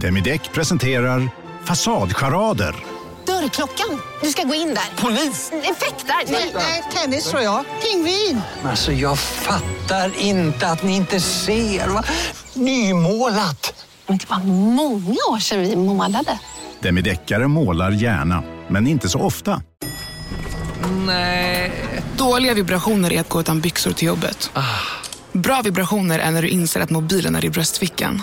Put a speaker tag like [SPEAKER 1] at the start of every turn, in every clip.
[SPEAKER 1] Demideck presenterar Fasadcharader.
[SPEAKER 2] Dörrklockan. Du ska gå in där. Polis? Effektar? Nej, nej, tennis tror jag. Pingvin.
[SPEAKER 3] Alltså jag fattar inte att ni inte ser. Va? Nymålat!
[SPEAKER 2] Men det var många år sedan vi målade.
[SPEAKER 1] Demideckare målar gärna, men inte så ofta.
[SPEAKER 4] Dåliga vibrationer är att gå utan byxor till jobbet. Bra vibrationer är när du inser att mobilen är i bröstfickan.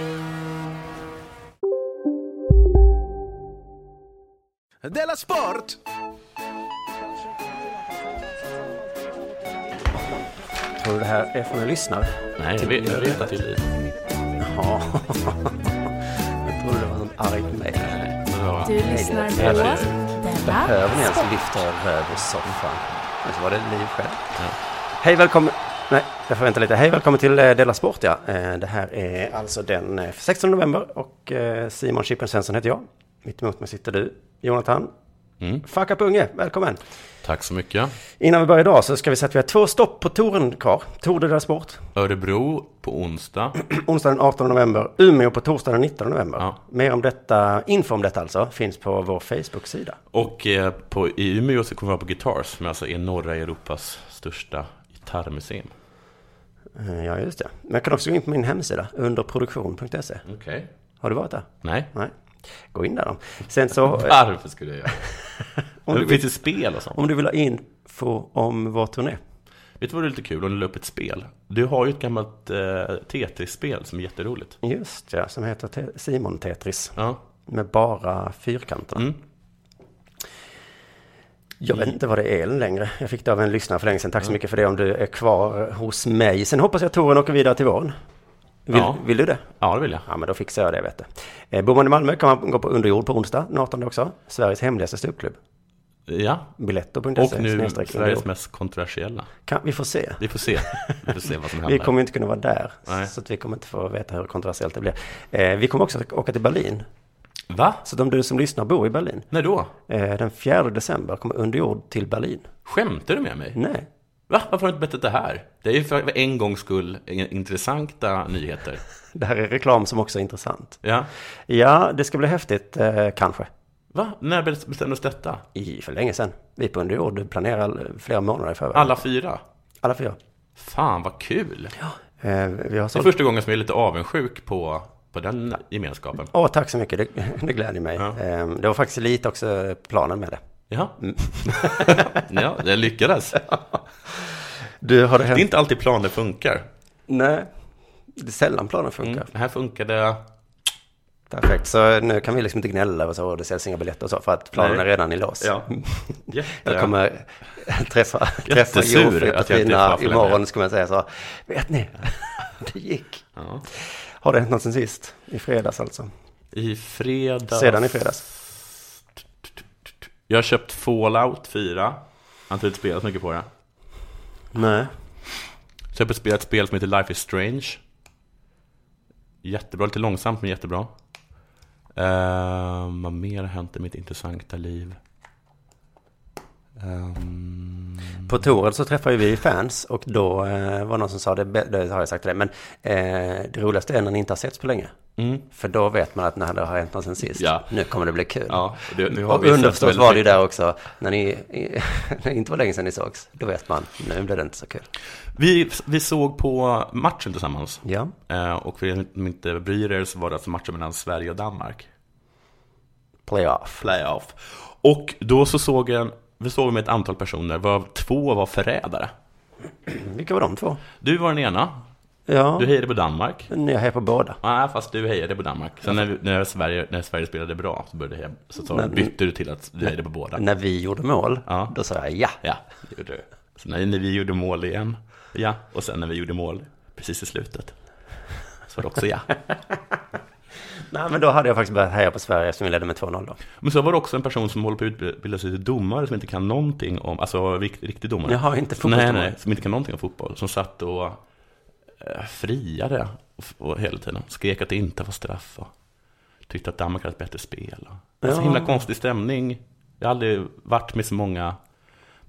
[SPEAKER 5] Della Sport!
[SPEAKER 6] Tror du det här är från en lyssnare?
[SPEAKER 7] Nej, det vet jag inte.
[SPEAKER 6] Ja. Jag trodde det var någon arg mejl.
[SPEAKER 8] Du lyssnar på
[SPEAKER 6] Eller-
[SPEAKER 8] Della
[SPEAKER 6] Behöver ni ens
[SPEAKER 8] Sport.
[SPEAKER 6] lyfta över soffan? Men så var det liv själv. Hej välkommen... Nej, jag får vänta lite. Hej välkommen till eh, Della Sport ja. Eh, Det här är alltså den eh, 16 november och eh, Simon Chippen Svensson heter jag. Mitt emot mig sitter du, Jonathan.
[SPEAKER 7] Mm.
[SPEAKER 6] Fuck up unge, välkommen!
[SPEAKER 7] Tack så mycket.
[SPEAKER 6] Innan vi börjar idag så ska vi säga att vi har två stopp på touren kvar. Tour de Della Sport.
[SPEAKER 7] Örebro på onsdag.
[SPEAKER 6] Onsdagen den 18 november, Umeå på torsdagen den 19 november.
[SPEAKER 7] Ja.
[SPEAKER 6] Mer om detta, info om detta alltså, finns på vår Facebook-sida.
[SPEAKER 7] Och eh, på, i Umeå så kommer vi vara på Guitars, som alltså är norra Europas största gitarrmuseum.
[SPEAKER 6] Eh, Ja, just det. Men jag kan också gå in på min hemsida, underproduktion.se.
[SPEAKER 7] Okej.
[SPEAKER 6] Har du varit där?
[SPEAKER 7] Nej.
[SPEAKER 6] Nej. Gå in där då. Sen så, eh,
[SPEAKER 7] Varför skulle jag göra
[SPEAKER 6] om,
[SPEAKER 7] det?
[SPEAKER 6] du
[SPEAKER 7] Det finns
[SPEAKER 6] vill,
[SPEAKER 7] ju spel och sånt.
[SPEAKER 6] om du vill ha info om vår turné.
[SPEAKER 7] Vet du vad det är lite kul? Om du la upp ett spel. Du har ju ett gammalt eh, Tetris-spel som är jätteroligt.
[SPEAKER 6] Just ja, som heter Te- Simon Tetris.
[SPEAKER 7] Ja.
[SPEAKER 6] Med bara fyrkanterna.
[SPEAKER 7] Mm.
[SPEAKER 6] Jag vet inte vad det är längre. Jag fick det av en lyssnare för länge sedan. Tack så mycket för det om du är kvar hos mig. Sen hoppas jag touren åker vidare till våren. Vill,
[SPEAKER 7] Ja.
[SPEAKER 6] vill du det?
[SPEAKER 7] Ja, det vill jag.
[SPEAKER 6] Ja, men då fixar jag det, vet du. Eh, bor man i Malmö kan man gå på Underjord på onsdag, den 18 också. Sveriges hemligaste ståuppklubb.
[SPEAKER 7] Ja.
[SPEAKER 6] Biletto.se.
[SPEAKER 7] Och nu
[SPEAKER 6] snedstreck
[SPEAKER 7] Sveriges
[SPEAKER 6] Underjord.
[SPEAKER 7] mest kontroversiella.
[SPEAKER 6] Kan, vi får se.
[SPEAKER 7] Vi får se. Vi får se vad som
[SPEAKER 6] Vi
[SPEAKER 7] händer.
[SPEAKER 6] kommer ju inte kunna vara där,
[SPEAKER 7] Nej.
[SPEAKER 6] så att vi kommer inte få veta hur kontroversiellt det blir. Eh, vi kommer också att åka till Berlin.
[SPEAKER 7] Va?
[SPEAKER 6] Så om du som lyssnar bor i Berlin,
[SPEAKER 7] När då?
[SPEAKER 6] eh, den 4 december kommer Underjord till Berlin.
[SPEAKER 7] Skämtar du med mig?
[SPEAKER 6] Nej,
[SPEAKER 7] Va? Varför har du inte berättat det här? Det är ju för en gångs skull intressanta nyheter.
[SPEAKER 6] det här är reklam som också är intressant.
[SPEAKER 7] Ja.
[SPEAKER 6] Ja, det ska bli häftigt, eh, kanske.
[SPEAKER 7] Va? När bestämdes detta?
[SPEAKER 6] I för länge sedan. Vi på Underjord planerar eh, flera månader i förväg.
[SPEAKER 7] Alla fyra?
[SPEAKER 6] Alla fyra.
[SPEAKER 7] Fan vad kul!
[SPEAKER 6] Eh, vi har
[SPEAKER 7] Det är
[SPEAKER 6] sålt...
[SPEAKER 7] första gången som jag är lite avundsjuk på, på den gemenskapen.
[SPEAKER 6] Åh, tack så mycket. Det, det gläder mig.
[SPEAKER 7] Ja.
[SPEAKER 6] Eh, Det var faktiskt lite också planen med det.
[SPEAKER 7] Ja, Mm. ja jag lyckades.
[SPEAKER 6] Du, har det hänt?
[SPEAKER 7] Det är inte alltid planer funkar.
[SPEAKER 6] Nej, det är sällan planen funkar.
[SPEAKER 7] Mm. Här funkade...
[SPEAKER 6] Perfekt, så nu kan vi liksom inte gnälla och så, och det säljs inga biljetter och så, för att planen
[SPEAKER 7] Nej.
[SPEAKER 6] är redan i lås.
[SPEAKER 7] Ja.
[SPEAKER 6] Jag
[SPEAKER 7] Jätte...
[SPEAKER 6] kommer träffa, träffa
[SPEAKER 7] Jättesur
[SPEAKER 6] Jofi och
[SPEAKER 7] att jag inte
[SPEAKER 6] Petrina
[SPEAKER 7] får följa med.
[SPEAKER 6] imorgon, så kommer jag säga så. Vet ni, det gick.
[SPEAKER 7] Ja.
[SPEAKER 6] Har det hänt något sen sist? I fredags alltså?
[SPEAKER 7] I fredags...
[SPEAKER 6] Sedan i fredags?
[SPEAKER 7] Jag har köpt Fallout 4. Jag har inte spelat så mycket på det.
[SPEAKER 6] Nej.
[SPEAKER 7] Så jag har spelat ett spel som heter Life is Strange. Jättebra, lite långsamt men jättebra. Ehm, vad mer har hänt i mitt intressanta liv? Ehm,
[SPEAKER 6] På Torel så träffade vi fans och då eh, var det någon som sa, det, bä- det har jag sagt till dig, men eh, det roligaste är när ni inte har setts på länge.
[SPEAKER 7] mm,
[SPEAKER 6] För då vet man att när det har hänt något sen sist,
[SPEAKER 7] Ja.
[SPEAKER 6] nu kommer det bli kul.
[SPEAKER 7] ja, det, nu har
[SPEAKER 6] Och
[SPEAKER 7] vi sett
[SPEAKER 6] underförstått
[SPEAKER 7] väldigt
[SPEAKER 6] var det ju
[SPEAKER 7] mycket.
[SPEAKER 6] där också, när ni, när det inte var länge sedan ni sågs, då vet man, nu blir det inte så kul.
[SPEAKER 7] Vi, vi såg på matchen tillsammans.
[SPEAKER 6] Ja.
[SPEAKER 7] Ehm, och för er som inte bryr er så var det alltså matchen mellan Sverige och Danmark.
[SPEAKER 6] Playoff.
[SPEAKER 7] Playoff. Och då så såg jag, en- vi såg med ett antal personer, varav två var förrädare.
[SPEAKER 6] Vilka var de två?
[SPEAKER 7] Du var den ena,
[SPEAKER 6] Ja,
[SPEAKER 7] du hejade på Danmark.
[SPEAKER 6] ni har på båda.
[SPEAKER 7] Nej, fast du hejade på Danmark. Sen när, vi- när, Sverige, när Sverige spelade bra så, började jag, så, så bytte du till att du hejade på båda.
[SPEAKER 6] När vi gjorde mål,
[SPEAKER 7] Ja.
[SPEAKER 6] då sa jag ja.
[SPEAKER 7] Ja, det gjorde du. Så när, när vi gjorde mål igen, ja. Och sen när vi gjorde mål precis i slutet, så var det också ja.
[SPEAKER 6] Nej, men då hade jag faktiskt börjat heja på Sverige som vi ledde med 2-0 då.
[SPEAKER 7] Men så var det också en person som håller på att utbilda sig till domare som inte kan någonting om, alltså rikt- riktig domare.
[SPEAKER 6] Jaha, inte
[SPEAKER 7] nej,
[SPEAKER 6] fotbollsdomare.
[SPEAKER 7] nej, som inte kan någonting om fotboll. Som satt och eh, friade och, och hela tiden. Skrek att det inte var straff och tyckte att Danmark hade ett bättre spel. Och, ja. Så
[SPEAKER 6] Ja.
[SPEAKER 7] himla konstig stämning. Jag har aldrig varit med så många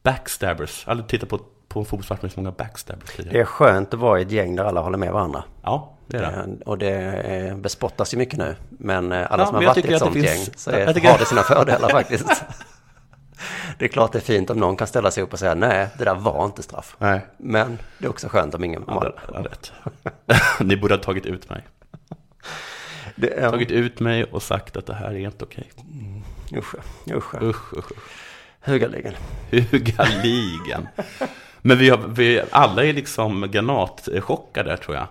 [SPEAKER 7] backstabbers. Aldrig tittat på, på en fotbollsmatch med så många backstabbers tidigare.
[SPEAKER 6] Det är skönt att vara i ett gäng där alla håller med varandra.
[SPEAKER 7] Ja, det är det.
[SPEAKER 6] Eh, Och det eh, bespottas ju mycket nu. Men eh, alla
[SPEAKER 7] Ja,
[SPEAKER 6] som
[SPEAKER 7] men
[SPEAKER 6] har
[SPEAKER 7] jag
[SPEAKER 6] varit
[SPEAKER 7] tycker
[SPEAKER 6] i ett
[SPEAKER 7] att det
[SPEAKER 6] sånt
[SPEAKER 7] finns-
[SPEAKER 6] gäng så
[SPEAKER 7] jag-
[SPEAKER 6] är,
[SPEAKER 7] jag tycker-
[SPEAKER 6] har det sina fördelar faktiskt. Det är klart det är fint om någon kan ställa sig upp och säga nej, det där var inte straff.
[SPEAKER 7] Nej.
[SPEAKER 6] Men det är också skönt om ingen...
[SPEAKER 7] Ja, det- ja, rätt. Ni borde ha tagit ut mig.
[SPEAKER 6] Det är-
[SPEAKER 7] Tagit ut mig och sagt att det här är inte okej.
[SPEAKER 6] Usch, usch.
[SPEAKER 7] Usch, usch, usch.
[SPEAKER 6] Högerligen.
[SPEAKER 7] Hugaligen. Men vi, har, vi alla är liksom granatchockade tror jag.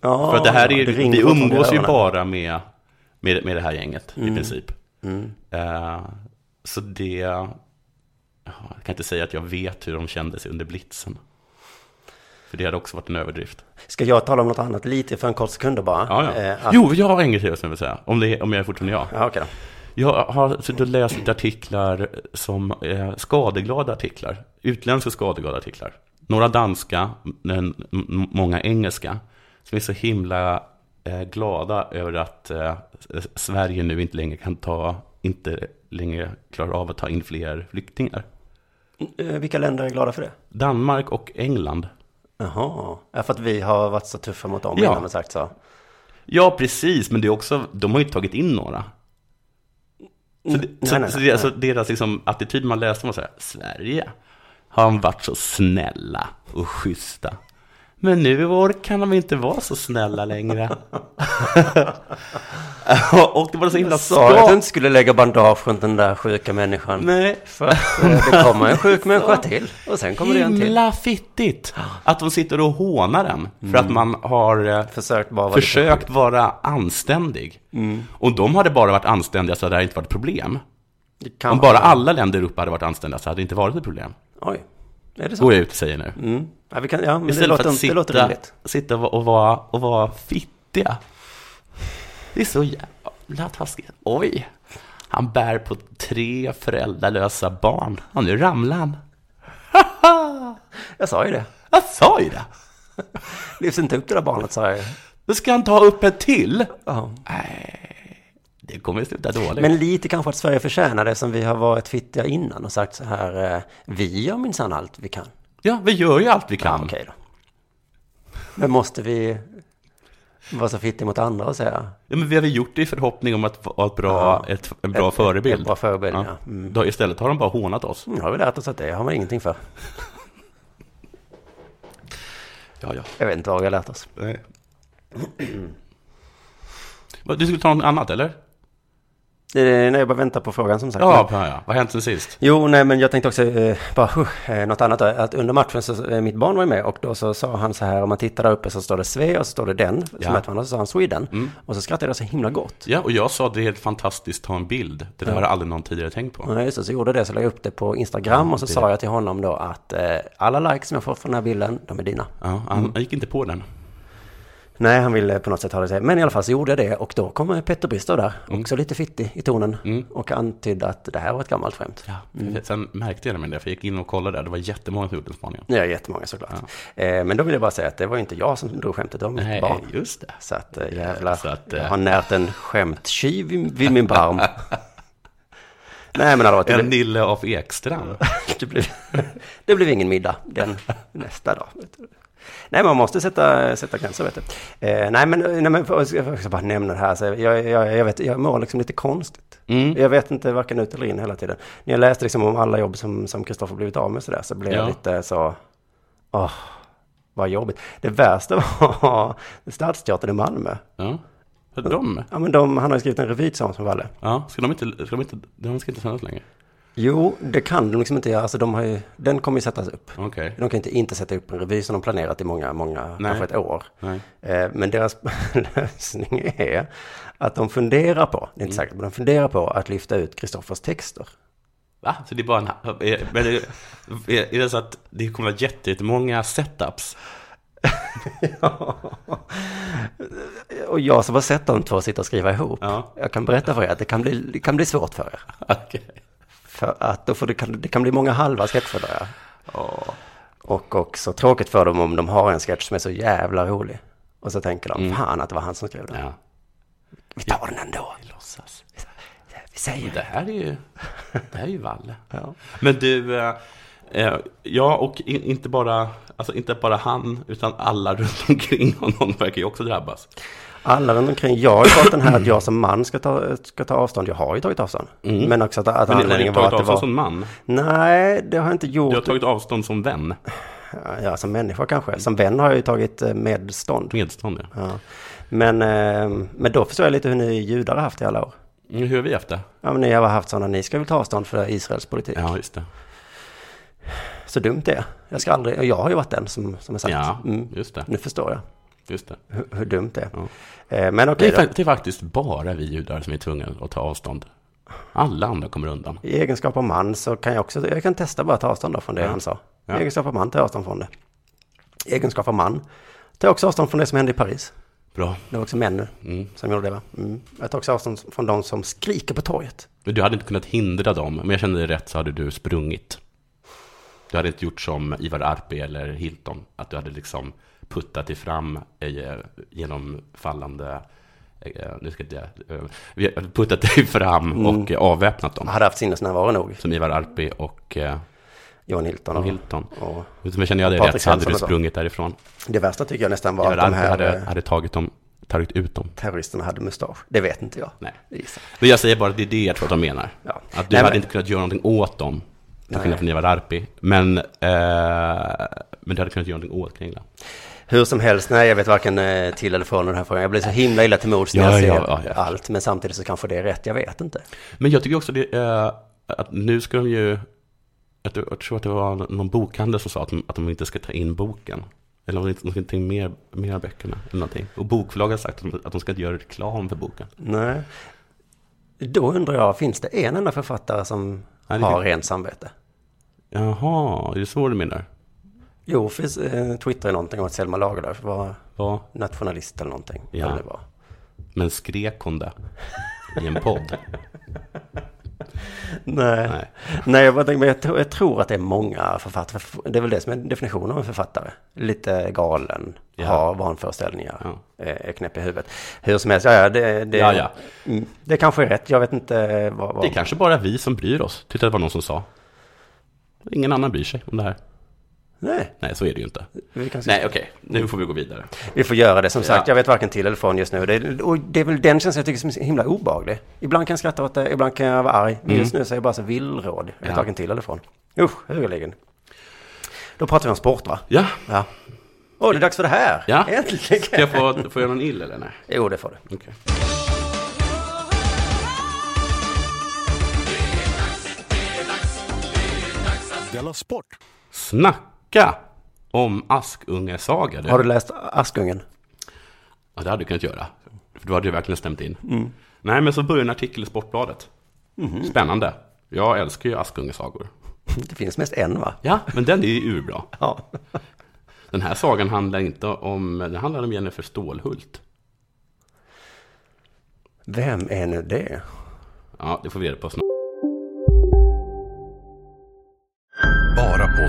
[SPEAKER 6] Ja,
[SPEAKER 7] För att det här är,
[SPEAKER 6] ringer
[SPEAKER 7] vi
[SPEAKER 6] från
[SPEAKER 7] umgås
[SPEAKER 6] öronen.
[SPEAKER 7] ju
[SPEAKER 6] Mm.
[SPEAKER 7] bara med, med, med det här gänget i princip. Eh, så det, ja, jag kan inte säga att jag vet hur de kände sig under blitzen. För det hade också varit en överdrift.
[SPEAKER 6] Ska jag tala om något annat lite för en kort sekund bara?
[SPEAKER 7] Ja, ja.
[SPEAKER 6] Eh, att-
[SPEAKER 7] Jo, jag har en grej till som jag vill säga. Om, det, om jag är fortfarande jag.
[SPEAKER 6] Ja, okej då.
[SPEAKER 7] Jag har suttit och läst lite artiklar som eh, skadeglada artiklar. Utländska skadeglada artiklar. Några danska, men m- många engelska. Som är så himla eh, glada över att eh, s- Sverige nu inte längre kan ta, inte längre klarar av att ta in fler flyktingar.
[SPEAKER 6] Eh, Vilka länder är glada för det?
[SPEAKER 7] Danmark och England.
[SPEAKER 6] Jaha, ja, för att vi har varit så tuffa mot dem
[SPEAKER 7] Ja.
[SPEAKER 6] innan och sagt så.
[SPEAKER 7] Ja, precis, men det är också, de har ju inte tagit in några. Så, det,
[SPEAKER 6] Mm. nej,
[SPEAKER 7] så,
[SPEAKER 6] nej,
[SPEAKER 7] så,
[SPEAKER 6] nej.
[SPEAKER 7] det, så deras liksom, attityd man läste var så här, Sverige har de varit så snälla och schyssta. Men nu i år kan de inte vara så snälla längre. och det var så himla
[SPEAKER 6] Jag sa att du
[SPEAKER 7] skadligt.
[SPEAKER 6] inte skulle lägga bandage runt den där sjuka människan.
[SPEAKER 7] Nej,
[SPEAKER 6] För att eh, det kommer en sjuk människa till och sen kommer det en till.
[SPEAKER 7] himla fittigt att de sitter och hånar den för
[SPEAKER 6] Mm.
[SPEAKER 7] att man har eh,
[SPEAKER 6] Försökt bara vara lite
[SPEAKER 7] försökt vara anständig.
[SPEAKER 6] Mm.
[SPEAKER 7] Och de hade bara varit anständiga så hade det här inte varit ett problem.
[SPEAKER 6] Det kan
[SPEAKER 7] Om bara alla länder i Europa hade varit anständiga så hade det inte varit ett problem.
[SPEAKER 6] Oj, är det så?
[SPEAKER 7] Går jag ut och säger nu.
[SPEAKER 6] Mm. Ja, vi kan, ja, men det
[SPEAKER 7] Istället för
[SPEAKER 6] låter,
[SPEAKER 7] att
[SPEAKER 6] det låter
[SPEAKER 7] sitta,
[SPEAKER 6] rimligt.
[SPEAKER 7] sitta och, och, vara, och vara fittiga. Det är så jävla taskigt. Oj, han bär på tre föräldralösa barn. Och nu ramlar han.
[SPEAKER 6] Jag sa ju det.
[SPEAKER 7] Jag sa ju det.
[SPEAKER 6] Lyfts inte upp det där barnet sa jag ju.
[SPEAKER 7] Då ska han ta upp ett till.
[SPEAKER 6] Ja.
[SPEAKER 7] Det kommer att sluta dåligt.
[SPEAKER 6] Men lite kanske att Sverige förtjänar det som vi har varit fittiga innan och sagt så här. eh, Vi gör minsann allt vi kan.
[SPEAKER 7] Ja, vi gör ju allt vi kan.
[SPEAKER 6] Okej då. Men måste vi vara så fittiga mot andra och säga?
[SPEAKER 7] Ja, men vi har väl gjort det i förhoppning om att vara ett bra, ett, en bra
[SPEAKER 6] Ett-
[SPEAKER 7] förebild.
[SPEAKER 6] en bra förebild, ja. Mm.
[SPEAKER 7] Då, istället har de bara hånat oss.
[SPEAKER 6] Nu "Mm, har vi lärt oss att det har man ingenting för.
[SPEAKER 7] Ja, ja.
[SPEAKER 6] Jag vet inte vad vi har lärt oss.
[SPEAKER 7] Nej. Du skulle ta något annat, eller?
[SPEAKER 6] Det är när jag bara väntar på frågan som sagt. Men-
[SPEAKER 7] Ja, ja, ja. Vad har hänt sen sist?
[SPEAKER 6] Jo, nej, men jag tänkte också eh, bara, huh, eh, något annat. då. Att under matchen så, eh, mitt barn var ju med och då så sa han så här, om man tittar där uppe så står det Sve och så står det den,
[SPEAKER 7] Ja.
[SPEAKER 6] som ett varandra, så sa han Sweden. Och så skrattade jag så himla gott.
[SPEAKER 7] Ja, och jag sa att det är helt fantastiskt att ta en bild. Det där har aldrig någon tidigare tänkt på.
[SPEAKER 6] Ja, just det, så gjorde jag det, så la jag upp det på Instagram och så sa jag till honom då att eh, alla likes som jag fått från den här bilden, de är dina.
[SPEAKER 7] Ja, han
[SPEAKER 6] Mm.
[SPEAKER 7] han gick inte på den.
[SPEAKER 6] Nej, han ville på något sätt ha det sig. Men i alla fall så gjorde jag det och då kom Petter Bristow där,
[SPEAKER 7] Mm.
[SPEAKER 6] också lite fittig i tonen. Och antydde att det här var ett gammalt skämt.
[SPEAKER 7] Ja.
[SPEAKER 6] Mm.
[SPEAKER 7] Sen märkte jag det med det, för jag gick in och kollade. Det var jättemånga som gjorde den spaningen.
[SPEAKER 6] Ja, jättemånga såklart. Eh, men då vill jag bara säga att det var ju inte jag som drog skämtet, det var mitt
[SPEAKER 7] Nej,
[SPEAKER 6] barn.
[SPEAKER 7] just det.
[SPEAKER 6] Så att eh, jävlar,
[SPEAKER 7] Så att, eh,
[SPEAKER 6] jag har närt en skämttjuv vid, vid min barm. Nej men allvar, det,
[SPEAKER 7] En
[SPEAKER 6] blev-
[SPEAKER 7] Nille av Ekstrand.
[SPEAKER 6] det, blev, det blev ingen middag den nästa dag. vet du. Nej, man måste sätta, sätta gränser, vet du. Eh, nej, men, nej, men jag ska jag ska bara nämna det här. Så jag, jag, jag, vet, jag mår liksom lite konstigt. Jag vet inte varken ut eller in hela tiden. När jag läste liksom om alla jobb som som Kristoffer blivit av med så, där, så blev
[SPEAKER 7] Ja.
[SPEAKER 6] jag lite så... Åh, vad jobbigt. Det värsta var Stadsteatern i Malmö.
[SPEAKER 7] Ja. För de?
[SPEAKER 6] Ja, men de, han har ju skrivit en revy tillsammans med Valle.
[SPEAKER 7] Ja, ska de inte, ska de inte, de ska inte sändas längre?
[SPEAKER 6] Jo, det kan de liksom inte göra. Alltså, de har ju, den kommer ju sättas upp.
[SPEAKER 7] Okej.
[SPEAKER 6] De kan inte, inte sätta upp en revy som de planerat i många, många, kanske ett år.
[SPEAKER 7] Nej.
[SPEAKER 6] Eh, Men deras lösning är att de funderar på, det är inte
[SPEAKER 7] Mm.
[SPEAKER 6] säkert, men de funderar på att lyfta ut Kristoffers texter.
[SPEAKER 7] Va? Så det är bara en... är- Men är, är, är det så att det kommer att vara jätte- jättemånga setups?
[SPEAKER 6] och jag som har sett de två sitta och skriva ihop,
[SPEAKER 7] Ja.
[SPEAKER 6] jag kan berätta för er att det kan bli, det kan bli svårt för er.
[SPEAKER 7] Okej.
[SPEAKER 6] För att då får det, kan, det kan bli många halva sketcher där. Och också tråkigt för dem om de har en sketch som är så jävla rolig. Och så tänker de, fan att det var han som skrev den.
[SPEAKER 7] Mm. Ja.
[SPEAKER 6] Vi tar den ändå.
[SPEAKER 7] Låtsas.
[SPEAKER 6] Vi säger
[SPEAKER 7] Det
[SPEAKER 6] det.
[SPEAKER 7] här är ju, det här är ju Valle.
[SPEAKER 6] Ja.
[SPEAKER 7] Men du, eh, eh, ja och i- inte bara, alltså inte bara han, utan alla runt omkring honom verkar ju också drabbas.
[SPEAKER 6] Alla runt omkring, jag har ju fått den här att jag som man ska ta, ska ta avstånd. Jag har ju tagit avstånd. Men också att, att
[SPEAKER 7] Mm. Men har du
[SPEAKER 6] anledningen var
[SPEAKER 7] tagit
[SPEAKER 6] att det
[SPEAKER 7] avstånd
[SPEAKER 6] var...
[SPEAKER 7] som man?
[SPEAKER 6] Nej, det har jag inte
[SPEAKER 7] Du
[SPEAKER 6] gjort.
[SPEAKER 7] har tagit avstånd som vän?
[SPEAKER 6] Ja, som människa kanske. Som vän har jag ju tagit eh, medstånd.
[SPEAKER 7] Medstånd ja.
[SPEAKER 6] Ja. Men, eh, men då förstår jag lite hur ni judar har haft i alla år.
[SPEAKER 7] Mm, Hur har vi haft det?
[SPEAKER 6] Ja, men ni har haft sådana, ni ska väl ta avstånd för Israels politik.
[SPEAKER 7] Ja, just det.
[SPEAKER 6] Så dumt det är. Jag ska aldrig, och jag har ju varit den som, som har sagt.
[SPEAKER 7] Ja,
[SPEAKER 6] Mm.
[SPEAKER 7] just det.
[SPEAKER 6] Nu förstår jag
[SPEAKER 7] Just det.
[SPEAKER 6] hur, hur dumt det är.
[SPEAKER 7] Ja.
[SPEAKER 6] Eh, Men
[SPEAKER 7] Det
[SPEAKER 6] okej
[SPEAKER 7] är,
[SPEAKER 6] då.
[SPEAKER 7] fak- det är faktiskt bara vi judar som är tvungna att ta avstånd. Alla andra kommer undan.
[SPEAKER 6] I egenskap av man så kan jag också, jag kan testa bara att ta avstånd då från det han sa. I
[SPEAKER 7] Ja.
[SPEAKER 6] egenskap av man tar jag avstånd från det. I egenskap av man tar jag också avstånd från det som hände i Paris.
[SPEAKER 7] Bra.
[SPEAKER 6] Det var också män nu
[SPEAKER 7] Mm.
[SPEAKER 6] som gjorde det va? Mm. Jag tar också avstånd från de som skriker på torget.
[SPEAKER 7] Men Du hade inte kunnat hindra dem, men jag kände det rätt så hade du sprungit. Du hade inte gjort som Ivar Arpi eller Hilton, att du hade liksom puttat dig fram eh, genom fallande... eh, Nu ska jag, inte- eh, vi hade puttat dig fram
[SPEAKER 6] Mm.
[SPEAKER 7] och eh, avväpnat
[SPEAKER 6] Jag
[SPEAKER 7] dem.
[SPEAKER 6] hade haft sinnesnärvaro nog,
[SPEAKER 7] Som Ivar Arpi och eh,
[SPEAKER 6] Johan Hilton.
[SPEAKER 7] och
[SPEAKER 6] Och,
[SPEAKER 7] Hilton.
[SPEAKER 6] och
[SPEAKER 7] Som jag kände jag hade
[SPEAKER 6] Patrik
[SPEAKER 7] rätt så hade
[SPEAKER 6] Hansson
[SPEAKER 7] du
[SPEAKER 6] och så.
[SPEAKER 7] sprungit därifrån.
[SPEAKER 6] det värsta tycker jag nästan var att
[SPEAKER 7] Ivar
[SPEAKER 6] de
[SPEAKER 7] Arpi
[SPEAKER 6] här
[SPEAKER 7] hade,
[SPEAKER 6] eh,
[SPEAKER 7] hade tagit, dem, tagit ut dem.
[SPEAKER 6] terroristerna hade mustasch. Det vet inte jag.
[SPEAKER 7] Nej.
[SPEAKER 6] Det gissar jag.
[SPEAKER 7] Men jag säger bara att det är det jag tror att de menar.
[SPEAKER 6] Ja.
[SPEAKER 7] Att du
[SPEAKER 6] Nej,
[SPEAKER 7] hade
[SPEAKER 6] men-
[SPEAKER 7] inte kunnat göra någonting åt dem, till
[SPEAKER 6] Nej.
[SPEAKER 7] skillnad från Ivar Arpi. Men, eh, men du hade kunnat göra någonting åt Kringla.
[SPEAKER 6] Hur som helst, nej jag vet varken eh, till eller från den här frågan. Jag blir så himla illa till mods när
[SPEAKER 7] Ja,
[SPEAKER 6] jag ser
[SPEAKER 7] ja, ja, ja.
[SPEAKER 6] allt. Men samtidigt så kanske det är rätt, jag vet inte.
[SPEAKER 7] Men jag tycker också det, eh, att nu ska de ju... Att, du- jag tror att det var någon bokhandel som sa att de, att de inte ska ta in boken. Eller om det inte någonting mer, mer av böckerna. Eller någonting. Och bokförlag har sagt att de, att de ska inte göra reklam för boken.
[SPEAKER 6] Nej. Då undrar jag, finns det en enda författare som
[SPEAKER 7] Nej, det
[SPEAKER 6] har
[SPEAKER 7] fin-
[SPEAKER 6] rent samvete?
[SPEAKER 7] Jaha, är det så du menar?
[SPEAKER 6] Jo, finns, eh, Twitter är någonting om att Selma Lagerlöf var
[SPEAKER 7] Ja,
[SPEAKER 6] nationalist eller någonting.
[SPEAKER 7] Ja.
[SPEAKER 6] Eller vad.
[SPEAKER 7] men skrek hon det i en podd?
[SPEAKER 6] Nej.
[SPEAKER 7] Nej.
[SPEAKER 6] Nej. Nej, jag, bara tänker, men jag, tror, jag tror att det är många författare. Det är väl det som är definitionen av en författare. Lite galen,
[SPEAKER 7] Ja.
[SPEAKER 6] har vanföreställningar,
[SPEAKER 7] Ja.
[SPEAKER 6] eh, är knäpp i huvudet. Hur som helst, ja, ja, det, det,
[SPEAKER 7] Ja, ja.
[SPEAKER 6] Mm, det kanske är rätt. Jag vet inte vad... vad
[SPEAKER 7] Det är kanske bara vi som bryr oss, tyckte det var någon som sa. Ingen annan bryr sig om det här.
[SPEAKER 6] Nej,
[SPEAKER 7] Nej, så är det ju inte.
[SPEAKER 6] vi, kanske,
[SPEAKER 7] Nej, okej, nu får vi gå vidare.
[SPEAKER 6] vi får göra det. Som sagt,
[SPEAKER 7] Ja.
[SPEAKER 6] jag vet varken till eller från just nu. Det, och det är väl den känslan jag tycker som är så himla obehaglig. Ibland kan jag skratta åt det, ibland kan jag vara arg. Men just nu så är jag bara så villråd. Jag vet
[SPEAKER 7] Mm. Ja.
[SPEAKER 6] varken till eller från. Usch, högerligen. Då pratar vi om sport va?
[SPEAKER 7] Ja,
[SPEAKER 6] Ja. Åh, det är dags för det här!
[SPEAKER 7] Ja.
[SPEAKER 6] Äntligen!
[SPEAKER 7] ska jag få, få göra någon ill eller nej?
[SPEAKER 6] Jo, det får du.
[SPEAKER 7] Okej.
[SPEAKER 1] Della Sport.
[SPEAKER 7] Snacka om Askungesaga. Du.
[SPEAKER 6] Har du läst Askungen?
[SPEAKER 7] Ja, det hade du kunnat göra. För då hade du verkligen stämt in.
[SPEAKER 6] Mm.
[SPEAKER 7] Nej, men så börjar en artikel i Sportbladet.
[SPEAKER 6] Mhm.
[SPEAKER 7] Spännande. Jag älskar ju Askungesagor.
[SPEAKER 6] Det finns mest en va?
[SPEAKER 7] Ja, men den är ju urbra.
[SPEAKER 6] Ja.
[SPEAKER 7] Den här sagan handlar inte om... Den handlar om Jennifer Stålhult.
[SPEAKER 6] Vem är nu det?
[SPEAKER 7] Ja, det får vi reda på snart.
[SPEAKER 5] Bara på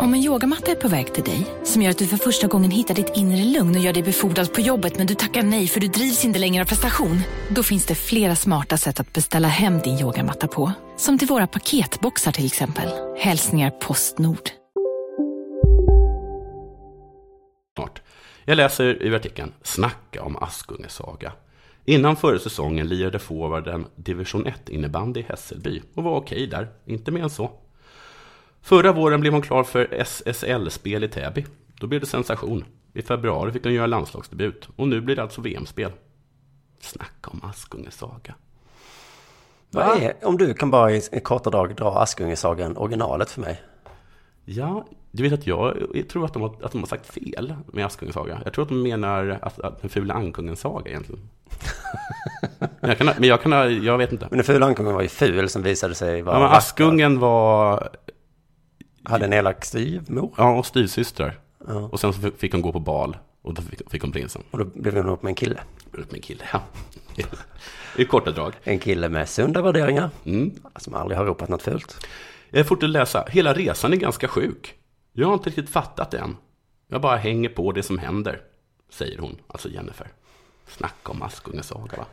[SPEAKER 9] Om en yogamatta är på väg till dig, som gör att du för första gången hittar ditt inre lugn och gör dig befordrad på jobbet men du tackar nej för du drivs inte längre av prestation. Då finns det flera smarta sätt att beställa hem din yogamatta på. Som till våra paketboxar till exempel. Hälsningar Postnord.
[SPEAKER 7] snart. Jag läser ur artikeln Snacka om Askungesaga. Innan förra säsongen lirade forwarden division 1 innebandy i Hässelby och var okej där, inte mer än så. Förra våren blev hon klar för SSL-spel i Täby. Då blev det sensation. I februari fick hon göra landslagsdebut och nu blir det alltså VM-spel. Snacka om Askungens saga.
[SPEAKER 6] Vad är, om du kan bara i i korta drag dra Askungesagan originalet för mig.
[SPEAKER 7] Ja, du vet att jag tror att de har, att de har sagt fel med Askungens saga. Jag tror att de menar att, att den fula ankungens saga egentligen. men jag kan, ha- men jag kan, ha- jag vet inte.
[SPEAKER 6] Men den fula ankungen var ju ful som visade sig vara...
[SPEAKER 7] Ja, men Askungen var...
[SPEAKER 6] Hade en elak styvmor?
[SPEAKER 7] Ja, och styvsystrar. Och sen så fick- fick hon gå på bal och då fick, fick hon prinsen.
[SPEAKER 6] Och då blev hon ihop med en kille.
[SPEAKER 7] Blev ihop med en kille, ja. I korta drag.
[SPEAKER 6] En kille med sunda värderingar.
[SPEAKER 7] Mm.
[SPEAKER 6] Som aldrig har ropat något fult.
[SPEAKER 7] Jag fortsätter läsa. Hela resan är ganska sjuk. Jag har inte riktigt fattat det än. Jag bara hänger på det som händer, säger hon, alltså Jennifer. Snacka om Askungens saga, va?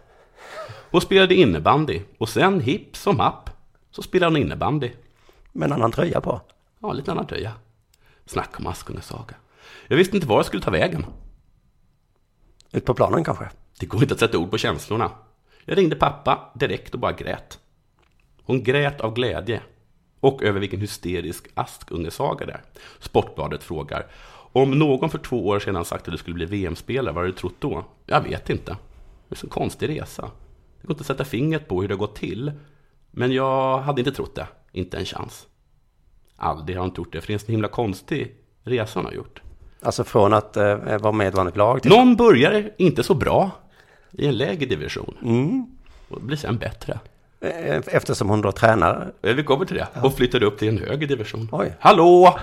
[SPEAKER 7] Hon spelade innebandy och sen hipp som happ så spelade hon innebandy.
[SPEAKER 6] Med en annan tröja på.
[SPEAKER 7] Ja, lite annan tröja. Snacka om Askungens saga. Jag visste inte var jag skulle ta vägen.
[SPEAKER 6] Ut på planen kanske.
[SPEAKER 7] Det går inte att sätta ord på känslorna. Jag ringde pappa direkt och bara grät. Hon grät av glädje. Och över vilken hysterisk askungesaga det är. Sportbladet frågar. Om någon för två år sedan sagt att du skulle bli VM-spelare, vad hade du trott då? Jag vet inte. Det är en konstig resa. Det går inte att sätta fingret på hur det har gått till. Men jag hade inte trott det. Inte en chans. Aldrig har hon inte gjort det, för det är en så himla konstig resa hon har gjort.
[SPEAKER 6] Alltså från att eh, vara med i ett vanligt lag till...
[SPEAKER 7] Någon börjar inte så bra i en lägre division. Och blir sen bättre.
[SPEAKER 6] Eh, Eftersom hon då tränar.
[SPEAKER 7] Eh, Vi kommer till det. Och flyttade upp till en högre division.
[SPEAKER 6] Oj.
[SPEAKER 7] Hallå!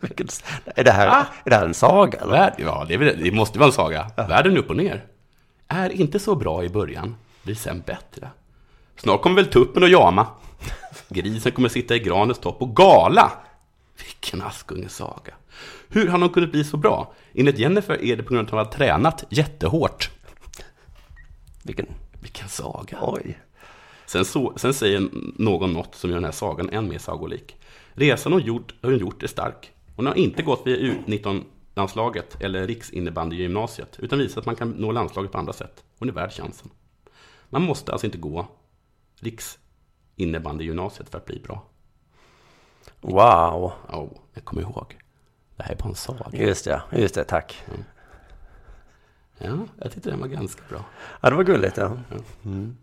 [SPEAKER 6] Vilket- Är det här,
[SPEAKER 7] Ah!
[SPEAKER 6] är det här en saga eller?
[SPEAKER 7] Värld, ja, det, är väl, det måste vara en saga. Världen upp och ner. Är inte så bra i början, blir sen bättre. Snart kommer väl tuppen och jama. Grisen kommer sitta i granens topp och gala. Vilken Askungesaga. Hur har de kunnat bli så bra? Enligt Jennifer är det på grund av att hon har tränat jättehårt.
[SPEAKER 6] Vilken...
[SPEAKER 7] Vilken saga.
[SPEAKER 6] Oj.
[SPEAKER 7] Sen, så, sen säger någon något som gör den här sagan än mer sagolik. Resan hon gjort, hon gjort är stark. Hon har inte gått via U19-landslaget eller riksinnebandy-gymnasiet, utan visat att man kan nå landslaget på andra sätt. Hon är värd chansen. Man måste alltså inte gå riksinnebandy-gymnasiet för att bli bra.
[SPEAKER 6] Wow.
[SPEAKER 7] Åh, oh, jag kommer ihåg. Det här är bara en saga.
[SPEAKER 6] Just det, just det, tack.
[SPEAKER 7] Ja, jag tyckte den var ganska bra.
[SPEAKER 6] Ja, det var gulligt. Ja. Mm.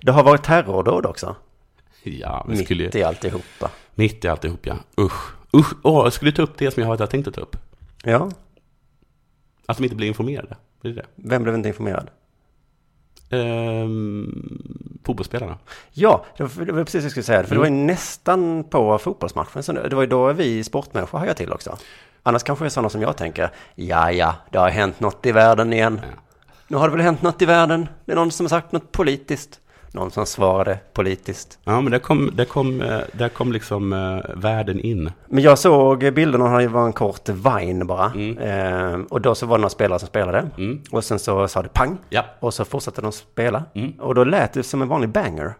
[SPEAKER 6] Det har varit terrordåd också.
[SPEAKER 7] Ja, men
[SPEAKER 6] Mitt
[SPEAKER 7] skulle ju...
[SPEAKER 6] i alltihopa.
[SPEAKER 7] Mitt i alltihop, ja. Usch. Usch. Åh, jag skulle ta upp det som jag hade tänkt att ta upp.
[SPEAKER 6] Ja,
[SPEAKER 7] Att de inte blir informerade. Det är det.
[SPEAKER 6] vem blev inte informerad?
[SPEAKER 7] Ehm, fotbollsspelarna.
[SPEAKER 6] Ja, det var, det var precis det jag skulle säga. För det var ju nästan på fotbollsmatchen. Så det var ju då vi sportmänniskor hajade till också. Annars kanske det är sådana som jag tänker. Ja, ja, det har hänt något i världen igen. Nu har det väl hänt något i världen. Det är någon som har sagt något politiskt. Någon som svarade politiskt.
[SPEAKER 7] Ja, men där kom, där kom, eh, där kom liksom eh, världen in.
[SPEAKER 6] Men jag såg bilderna, han var en kort Vine bara. Ehm, och då så var det några spelare som spelade. Och sen så sa det pang.
[SPEAKER 7] Ja.
[SPEAKER 6] Och så fortsatte de spela. Och då lät det som en vanlig banger.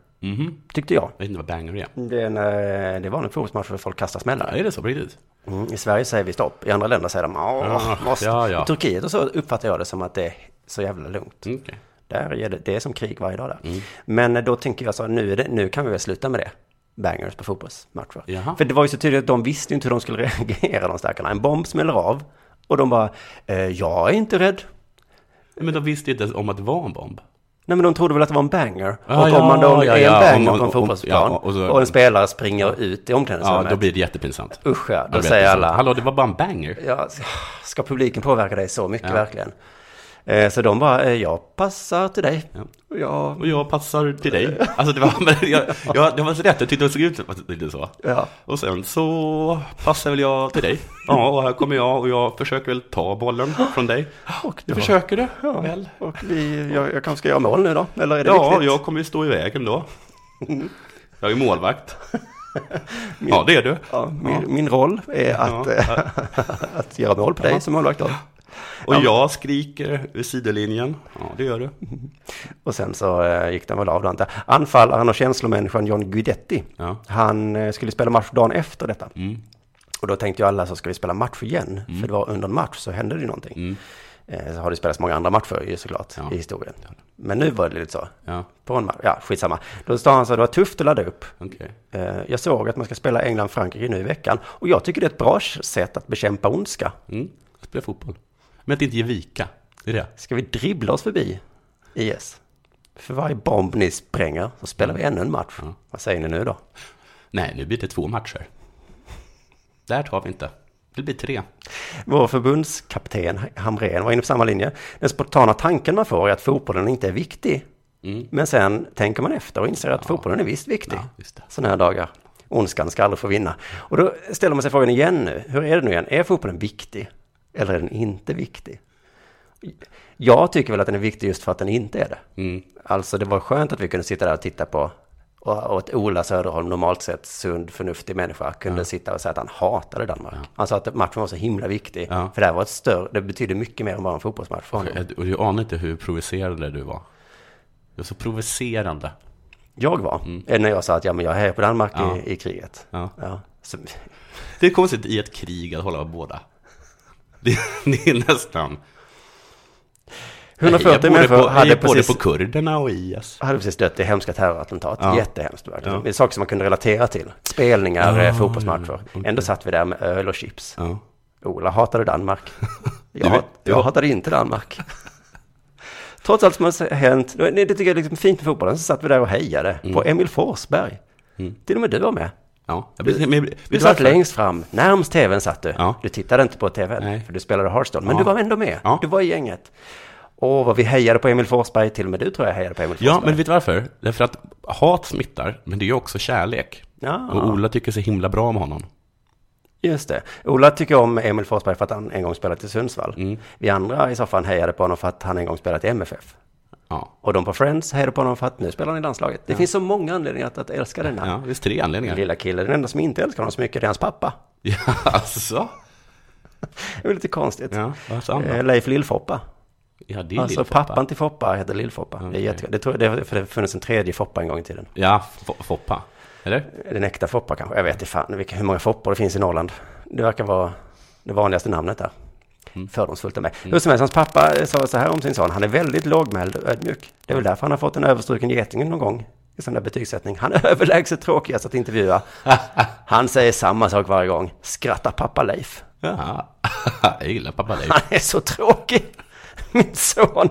[SPEAKER 6] Tyckte jag.
[SPEAKER 7] Jag vet inte vad banger är.
[SPEAKER 6] Det är en, eh, det är vanlig fotbollsmatch där folk kastar
[SPEAKER 7] Ja,
[SPEAKER 6] smällare.
[SPEAKER 7] är det så på riktigt?
[SPEAKER 6] Mm, I Sverige säger vi stopp, i andra länder säger de
[SPEAKER 7] Ah,
[SPEAKER 6] "Åh, måste.
[SPEAKER 7] ja, ja.
[SPEAKER 6] I Turkiet och så uppfattar jag det som att det är så jävla lugnt.
[SPEAKER 7] Mm, okej. Mm.
[SPEAKER 6] Där är det, det är som krig varje dag där. Men eh, då tänker jag så här, nu, är det, nu kan vi väl sluta med det. Bangers på fotbollsmatcher.
[SPEAKER 7] Jaha.
[SPEAKER 6] För det var ju så tydligt att de visste ju inte hur de skulle reagera de stackarna. En bomb smäller av och de bara, eh, jag är inte rädd.
[SPEAKER 7] Men de visste ju inte ens om att det var en bomb.
[SPEAKER 6] Nej men de trodde väl att det var en banger.
[SPEAKER 7] Ah,
[SPEAKER 6] och
[SPEAKER 7] ja,
[SPEAKER 6] om man då
[SPEAKER 7] ja,
[SPEAKER 6] är
[SPEAKER 7] ja,
[SPEAKER 6] en
[SPEAKER 7] om-
[SPEAKER 6] banger
[SPEAKER 7] om-
[SPEAKER 6] på en
[SPEAKER 7] om-
[SPEAKER 6] fotbollsplan
[SPEAKER 7] ja,
[SPEAKER 6] och,
[SPEAKER 7] och så-
[SPEAKER 6] en spelare springer ut i omklädningsrummet.
[SPEAKER 7] Ja, då blir det jättepinsamt.
[SPEAKER 6] Usch ja,
[SPEAKER 7] Ja,
[SPEAKER 6] då säger
[SPEAKER 7] jättepinsamt.
[SPEAKER 6] alla,
[SPEAKER 7] Hallå, det var bara en banger.
[SPEAKER 6] Ja, ska publiken påverka dig så mycket verkligen? Eh, Så de bara, eh, jag passar till dig. Och jag-
[SPEAKER 7] Och jag passar till dig. Alltså det var, men jag, jag, det var så rätt, jag tyckte det såg ut som- lite så.
[SPEAKER 6] Ja.
[SPEAKER 7] Och sen så passar väl jag till dig. Ja, och här kommer jag och jag försöker väl ta bollen från dig. Och du försöker du väl?
[SPEAKER 6] Och vi, jag, jag kanske ska göra mål nu då, eller är det
[SPEAKER 7] Ja,
[SPEAKER 6] viktigt?
[SPEAKER 7] jag kommer ju stå i vägen då.
[SPEAKER 6] Mm.
[SPEAKER 7] Jag är ju målvakt. Ja, det är du.
[SPEAKER 6] Ja, min, min roll är att, eh, att göra mål på dig som målvakt då.
[SPEAKER 7] Och jag skriker ur sidolinjen. Ja, det gör du.
[SPEAKER 6] Mm. Och sen så eh, gick den väl av då antar jag. Anfallaren och känslomänniskan John Guidetti,
[SPEAKER 7] Ja.
[SPEAKER 6] han eh, skulle spela match dagen efter detta. Och då tänkte ju alla så ska vi spela match igen, för det var under en match så hände det ju någonting. Eh, så har det spelats många andra matcher ju såklart i historien. Men nu var det lite så. På en match, ja skitsamma. Då sa han så, det var tufft att ladda upp. Eh, jag såg att man ska spela England-Frankrike nu i veckan. Och jag tycker det är ett bra sätt att bekämpa ondska.
[SPEAKER 7] Mm. Spela fotboll. Men att inte ge vika. Det är det.
[SPEAKER 6] Ska vi dribbla oss förbi IS? För varje bomb ni spränger så spelar vi ännu en match. Vad säger ni nu då?
[SPEAKER 7] Nej, nu blir det två matcher. Där tar vi inte. Det blir tre.
[SPEAKER 6] Vår förbundskapten Hamrén var inne på samma linje. Den spontana tanken man får är att fotbollen inte är viktig. Men sen tänker man efter och inser att fotbollen är visst viktig. Sådana här dagar. Ondskan ska aldrig få vinna. Och då ställer man sig frågan igen nu. Hur är det nu igen? Är fotbollen viktig? Eller är den inte viktig? Jag tycker väl att den är viktig just för att den inte är det.
[SPEAKER 7] Mm.
[SPEAKER 6] Alltså det var skönt att vi kunde sitta där och titta på och och att Ola Söderholm, normalt sett sund, förnuftig människa, kunde sitta och säga att han hatade Danmark. Han sa att matchen var så himla viktig. För det här var ett större, det betydde mycket mer än bara en fotbollsmatch för honom.
[SPEAKER 7] Och du anar inte hur provocerande du var. Du var så provocerande.
[SPEAKER 6] Jag var, eh, när jag sa att ja, men jag hejar på Danmark
[SPEAKER 7] Mm. Ja.
[SPEAKER 6] i, i kriget.
[SPEAKER 7] Ja.
[SPEAKER 6] Så,
[SPEAKER 7] Det är konstigt i ett krig att hålla på båda. Det, det är nästan...
[SPEAKER 6] 140
[SPEAKER 7] Jag hejar både
[SPEAKER 6] människor
[SPEAKER 7] på- jag
[SPEAKER 6] hade
[SPEAKER 7] hejar både
[SPEAKER 6] precis-
[SPEAKER 7] på kurderna och IS.
[SPEAKER 6] hade precis dött i hemska terrorattentat.
[SPEAKER 7] Ja.
[SPEAKER 6] Jättehemskt verkligen.
[SPEAKER 7] Ja. Ah,
[SPEAKER 6] Det är saker som man kunde relatera till. Spelningar,
[SPEAKER 7] Ja,
[SPEAKER 6] eh, fotbollsmatcher. Ändå satt vi där med öl och chips. Ola hatade Danmark. Jag,
[SPEAKER 7] vet-
[SPEAKER 6] jag hatade inte Danmark. Trots allt som har hänt, det det tycker jag är liksom fint med fotbollen, så satt vi där och hejade
[SPEAKER 7] Mm.
[SPEAKER 6] på Emil Forsberg. Till och med du var med.
[SPEAKER 7] Ja, jag
[SPEAKER 6] Du,
[SPEAKER 7] blir- men- vet
[SPEAKER 6] du,
[SPEAKER 7] du
[SPEAKER 6] satt
[SPEAKER 7] varför?
[SPEAKER 6] längst fram, närmst tvn satt du. Du tittade inte på tvn, för du spelade Hearthstone. Men du
[SPEAKER 7] Ja.
[SPEAKER 6] var ändå med, du var i gänget. Åh, vad vi hejade på Emil Forsberg, till och med du tror jag hejade på Emil Forsberg.
[SPEAKER 7] Ja, men vet du varför? Därför att hat smittar, men det är ju också kärlek.
[SPEAKER 6] Ja.
[SPEAKER 7] Och Ola tycker så himla bra om honom.
[SPEAKER 6] Just det. Ola tycker om Emil Forsberg för att han en gång spelat i Sundsvall.
[SPEAKER 7] Mm.
[SPEAKER 6] Vi andra i soffan hejade på honom för att han en gång spelat i MFF. Och de på Friends hejade på honom för att nu spelar han i landslaget. Det finns så många anledningar att, att älska den här
[SPEAKER 7] Ja, det finns tre anledningar.
[SPEAKER 6] lilla killen. Den enda som inte älskar honom så mycket det är hans pappa.
[SPEAKER 7] Ja, alltså.
[SPEAKER 6] Det är lite konstigt.
[SPEAKER 7] Ja, vad sa han då?
[SPEAKER 6] Eh, Leif Lillfoppa.
[SPEAKER 7] Ja, det är
[SPEAKER 6] Alltså
[SPEAKER 7] Lill-Foppa.
[SPEAKER 6] pappan till Foppa heter Lillfoppa. Det, är jättekul. det, tror jag, det, har- för det har funnits en tredje Foppa en gång i tiden.
[SPEAKER 7] Ja, Fo- Foppa. Eller?
[SPEAKER 6] Den äkta Foppa kanske. Jag vet inte fan vilka, hur många Foppor det finns i Norrland. Det verkar vara det vanligaste namnet där. Fördomsfullt av mig. Hur som helst, hans pappa eh, sa så här om sin son. Han är väldigt lågmäld och ödmjuk. Det är väl därför han har fått en överstruken geting någon gång i sån där betygssättning. Han är överlägset tråkigast att intervjua. Han säger samma sak varje gång. Skratta pappa Leif.
[SPEAKER 7] Ja, jag gillar pappa Leif.
[SPEAKER 6] Han är så tråkig, min son.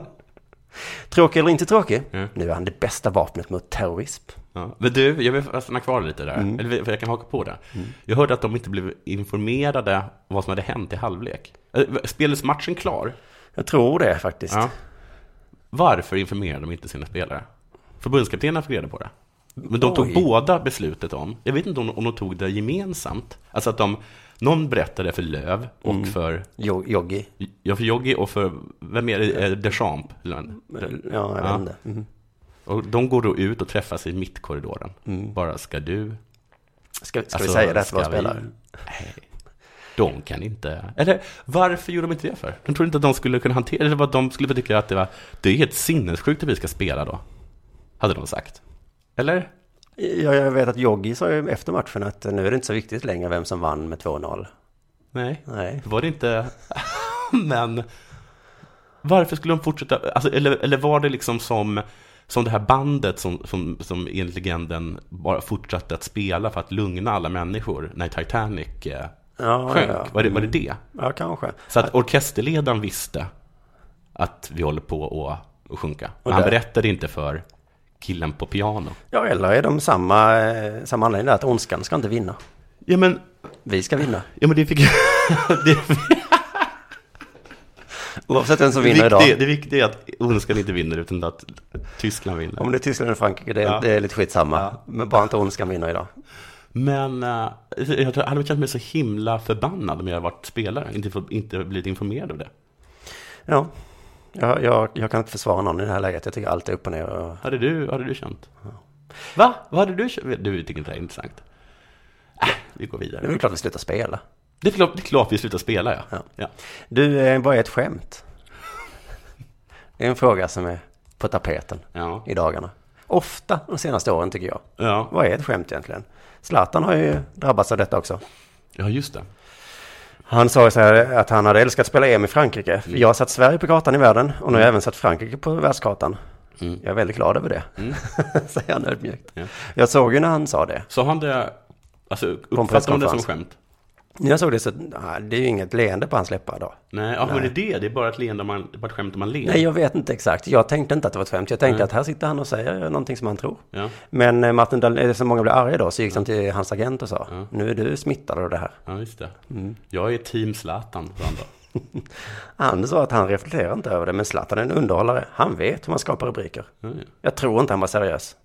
[SPEAKER 6] Tråkig eller inte tråkig, nu är han det bästa vapnet mot terrorism.
[SPEAKER 7] Ja. Men du, jag vill stanna kvar lite där.
[SPEAKER 6] Mm.
[SPEAKER 7] Eller för jag kan haka på det. Jag hörde att de inte blev informerade om vad som hade hänt i halvlek. Eh, Spelades matchen klar?
[SPEAKER 6] Jag tror det faktiskt.
[SPEAKER 7] Varför informerade de inte sina spelare? Förbundskaptenen fick reda på det. Men de tog
[SPEAKER 6] Oj.
[SPEAKER 7] båda beslutet om, jag vet inte om, om de tog det gemensamt, alltså att de, någon berättade för Löv och
[SPEAKER 6] Mm.
[SPEAKER 7] för...
[SPEAKER 6] Joggi.
[SPEAKER 7] Ja, för Joggi och för, vem är det, Eh, Deschamps? eller vem?
[SPEAKER 6] Ja, jag vet inte. Mhm.
[SPEAKER 7] Och de går då ut och träffas i mittkorridoren.
[SPEAKER 6] Mm.
[SPEAKER 7] Bara, ska du...
[SPEAKER 6] Ska, ska
[SPEAKER 7] Alltså,
[SPEAKER 6] vi säga det till våra spelare?
[SPEAKER 7] Nej. De kan inte... Eller varför gjorde de inte det för? De trodde inte att de skulle kunna hantera Eller vad de skulle få tycka att det var... Det är helt sinnessjukt att vi ska spela då. Hade de sagt. Eller?
[SPEAKER 6] Ja, jag vet att Joggi sa ju efter matchen att nu är det inte så viktigt längre vem som vann med 2-0.
[SPEAKER 7] Nej.
[SPEAKER 6] Nej.
[SPEAKER 7] Var det inte... Men... Varför skulle de fortsätta? Alltså, eller, eller var det liksom som... Som det här bandet som, som, som enligt legenden bara fortsatte att spela för att lugna alla människor när Titanic eh,
[SPEAKER 6] Ja,
[SPEAKER 7] sjönk.
[SPEAKER 6] ja.
[SPEAKER 7] Var, det, var det det?
[SPEAKER 6] Ja, kanske.
[SPEAKER 7] Så att orkesterledaren visste att vi håller på att, att sjunka.
[SPEAKER 6] Och
[SPEAKER 7] Men han
[SPEAKER 6] där-
[SPEAKER 7] berättade inte för killen på piano.
[SPEAKER 6] Ja, eller är de samma, eh, samma anledning där, att ondskan ska inte vinna?
[SPEAKER 7] Ja, men...
[SPEAKER 6] Vi ska vinna.
[SPEAKER 7] Ja, men det fick...
[SPEAKER 6] Oavsett vem som
[SPEAKER 7] Det
[SPEAKER 6] vinner
[SPEAKER 7] viktiga-
[SPEAKER 6] idag.
[SPEAKER 7] Det viktiga är att ondskan inte vinner, utan att Tyskland vinner.
[SPEAKER 6] Om det är Tyskland eller Frankrike, det, är-
[SPEAKER 7] Ja.
[SPEAKER 6] det är lite skitsamma. Men bara inte ondskan vinner idag.
[SPEAKER 7] Men eh, jag tror- hade känt mig så himla förbannad om jag hade varit spelare. Inte, få- inte blivit informerad av det.
[SPEAKER 6] Ja, jag, jag, jag kan inte försvara någon i det här läget. Jag tycker allt är upp och ner. Och...
[SPEAKER 7] Hade du, hade du känt? Va? Vad hade du känt? Du tycker inte det är intressant. Äh, vi går vidare.
[SPEAKER 6] Det är väl klart vi slutar spela.
[SPEAKER 7] Det är klart, det är klart vi slutar spela, ja. ja.
[SPEAKER 6] Du, eh, vad är ett skämt? Det är en fråga som är på tapeten i dagarna. Ofta de senaste åren tycker jag.
[SPEAKER 7] Ja.
[SPEAKER 6] Vad är ett skämt egentligen? Zlatan har ju drabbats av detta också.
[SPEAKER 7] Ja, just det.
[SPEAKER 6] Han sa ju så här att han hade älskat att spela EM i Frankrike. Jag har satt Sverige på kartan i världen och nu har jag även satt Frankrike på världskartan. Jag är väldigt glad över det, säger han ödmjukt. Jag såg ju när han sa det.
[SPEAKER 7] Sa han det, alltså
[SPEAKER 6] På en
[SPEAKER 7] uppfattade han det som
[SPEAKER 6] presskonferens.
[SPEAKER 7] skämt?
[SPEAKER 6] Jag såg det så, nej, det är ju inget leende på hans läppar då.
[SPEAKER 7] Nej, ja, var
[SPEAKER 6] Nej.
[SPEAKER 7] det det? Det är bara ett leende, om man, det är bara ett skämt om man ler.
[SPEAKER 6] Nej, jag vet inte exakt. Jag tänkte inte att det var ett skämt. Jag tänkte
[SPEAKER 7] Nej.
[SPEAKER 6] att här sitter han och säger någonting som han tror.
[SPEAKER 7] Ja.
[SPEAKER 6] Men eh, Martin Dahlin, så många blev arga då, så gick han till hans agent och sa, nu är du smittad av det här.
[SPEAKER 7] Ja, just det.
[SPEAKER 6] Mm.
[SPEAKER 7] Jag är team Zlatan, sa han då.
[SPEAKER 6] Han sa att han reflekterar inte över det, men Zlatan är en underhållare. Han vet hur man skapar rubriker.
[SPEAKER 7] Ja, ja.
[SPEAKER 6] Jag tror inte han var seriös.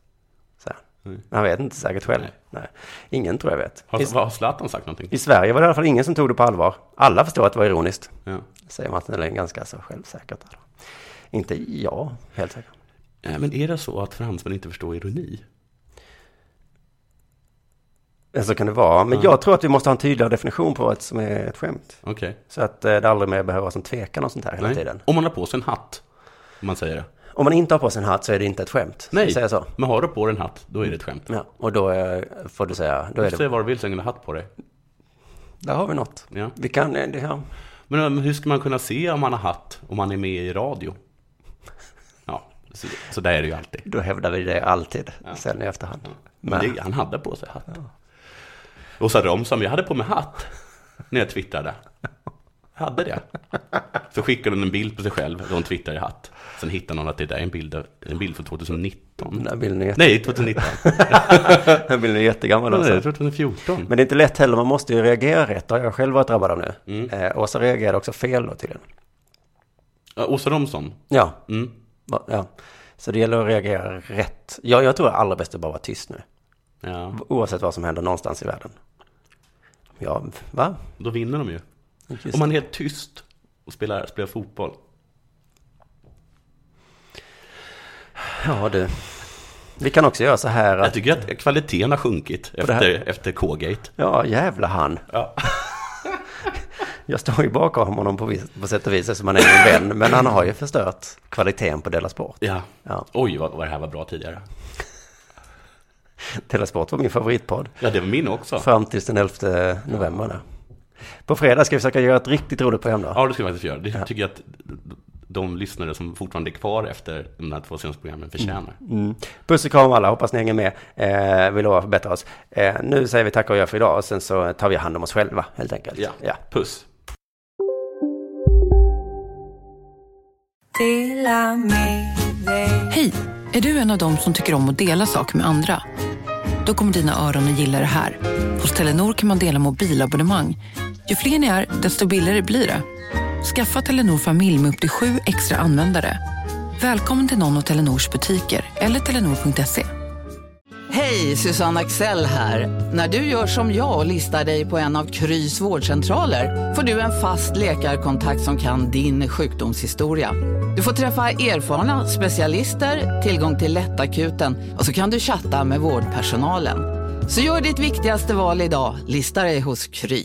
[SPEAKER 6] Så.
[SPEAKER 7] Nej.
[SPEAKER 6] Han vet inte säkert själv. Nej. Ingen tror jag vet.
[SPEAKER 7] Har,
[SPEAKER 6] I,
[SPEAKER 7] vad har Zlatan sagt någonting?
[SPEAKER 6] I Sverige var det i alla fall ingen som tog det på allvar. Alla förstår att det var ironiskt.
[SPEAKER 7] Ja.
[SPEAKER 6] Säger Martin Dahlin ganska så självsäkert. där då. Inte jag, helt säkert.
[SPEAKER 7] Nej, men är det så att fransmän inte förstår ironi?
[SPEAKER 6] Men Så kan det vara. Men
[SPEAKER 7] Ja.
[SPEAKER 6] jag tror att vi måste ha en tydligare definition på vad som är ett skämt.
[SPEAKER 7] Okej.
[SPEAKER 6] Så att eh, det aldrig mer behöver vara som tvekan och sånt här hela
[SPEAKER 7] Nej.
[SPEAKER 6] tiden.
[SPEAKER 7] Om man har på sig en hatt, om man säger det.
[SPEAKER 6] Om man inte har på sig en hatt så är det inte ett skämt. Ska
[SPEAKER 7] Nej,
[SPEAKER 6] vi säga så?
[SPEAKER 7] men har du på dig en hatt, då är det ett skämt.
[SPEAKER 6] Ja, och då eh, får du säga, då är det...
[SPEAKER 7] Säg vad du vill så länge du har hatt på dig.
[SPEAKER 6] Där har vi något.
[SPEAKER 7] Ja.
[SPEAKER 6] Vi kan, eh, det här.
[SPEAKER 7] Men um, hur ska man kunna se om man har hatt, om man är med i radio? Ja, så, så där är det ju alltid.
[SPEAKER 6] Då hävdar vi det alltid, sen i efterhand.
[SPEAKER 7] Men det, han hade på sig hatt. Och sa Romson, jag hade på mig hatt när jag twittrade. Jag hade det. Så skickade hon en bild på sig själv, då hon twittrade i hatt. Sen hittade någon att det där är en bild, av- en bild från 2019.
[SPEAKER 6] Den här bilden är, jätte...
[SPEAKER 7] Nej, 2019.
[SPEAKER 6] Den här bilden är jättegammal
[SPEAKER 7] Nej,
[SPEAKER 6] också.
[SPEAKER 7] 2014.
[SPEAKER 6] Men det är inte lätt heller, man måste ju reagera rätt. Det har jag själv varit drabbad av nu.
[SPEAKER 7] Mm.
[SPEAKER 6] Eh, och så reagerade jag också fel då tydligen.
[SPEAKER 7] Ja, Åsa Romson.
[SPEAKER 6] Ja.
[SPEAKER 7] Mm.
[SPEAKER 6] Va- ja. Så det gäller att reagera rätt. Ja, jag tror det allra bäst är bara att vara tyst nu.
[SPEAKER 7] Ja,
[SPEAKER 6] Oavsett vad som händer någonstans i världen. Ja, va?
[SPEAKER 7] då vinner de ju.
[SPEAKER 6] Just.
[SPEAKER 7] Om man är helt tyst och spelar, spelar fotboll.
[SPEAKER 6] Ja, du. Vi kan också göra så här
[SPEAKER 7] Jag
[SPEAKER 6] att...
[SPEAKER 7] tycker att kvaliteten har sjunkit
[SPEAKER 6] det här-
[SPEAKER 7] efter, efter K-gate.
[SPEAKER 6] Ja, jävla han.
[SPEAKER 7] Ja.
[SPEAKER 6] Jag står ju bakom honom på, vis- på sätt och vis eftersom han är min vän. Men han har ju förstört kvaliteten på Della Sport.
[SPEAKER 7] Ja.
[SPEAKER 6] Ja.
[SPEAKER 7] Oj, vad, vad det här var bra tidigare.
[SPEAKER 6] Della Sport var min favoritpodd.
[SPEAKER 7] Ja, det var min också.
[SPEAKER 6] Fram tills den 11 november. där. På fredag ska vi försöka göra ett riktigt roligt program då.
[SPEAKER 7] Ja, det ska vi faktiskt göra. Det tycker jag att de lyssnare som fortfarande är kvar efter de här två senaste programmen förtjänar.
[SPEAKER 6] Mm. Puss och kram alla, hoppas ni hänger med. Eh, vi lovar att förbättra oss. Eh, nu säger vi tack och gör för idag och sen så tar vi hand om oss själva helt enkelt.
[SPEAKER 7] Ja.
[SPEAKER 6] ja.
[SPEAKER 7] Puss.
[SPEAKER 9] Hej! Är du en av dem som tycker om att dela saker med andra? Då kommer dina öron att gilla det här. Hos Telenor kan man dela mobilabonnemang. Ju fler ni är, desto billigare blir det. Skaffa Telenor familj med upp till sju extra användare. Välkommen till någon av Telenors butiker eller telenor.se.
[SPEAKER 2] Hej, Susanne Axel här. När du gör som jag och listar dig på en av Krys vårdcentraler får du en fast läkarkontakt som kan din sjukdomshistoria. Du får träffa erfarna specialister, tillgång till lättakuten och så kan du chatta med vårdpersonalen. Så gör ditt viktigaste val idag, lista dig hos Kry.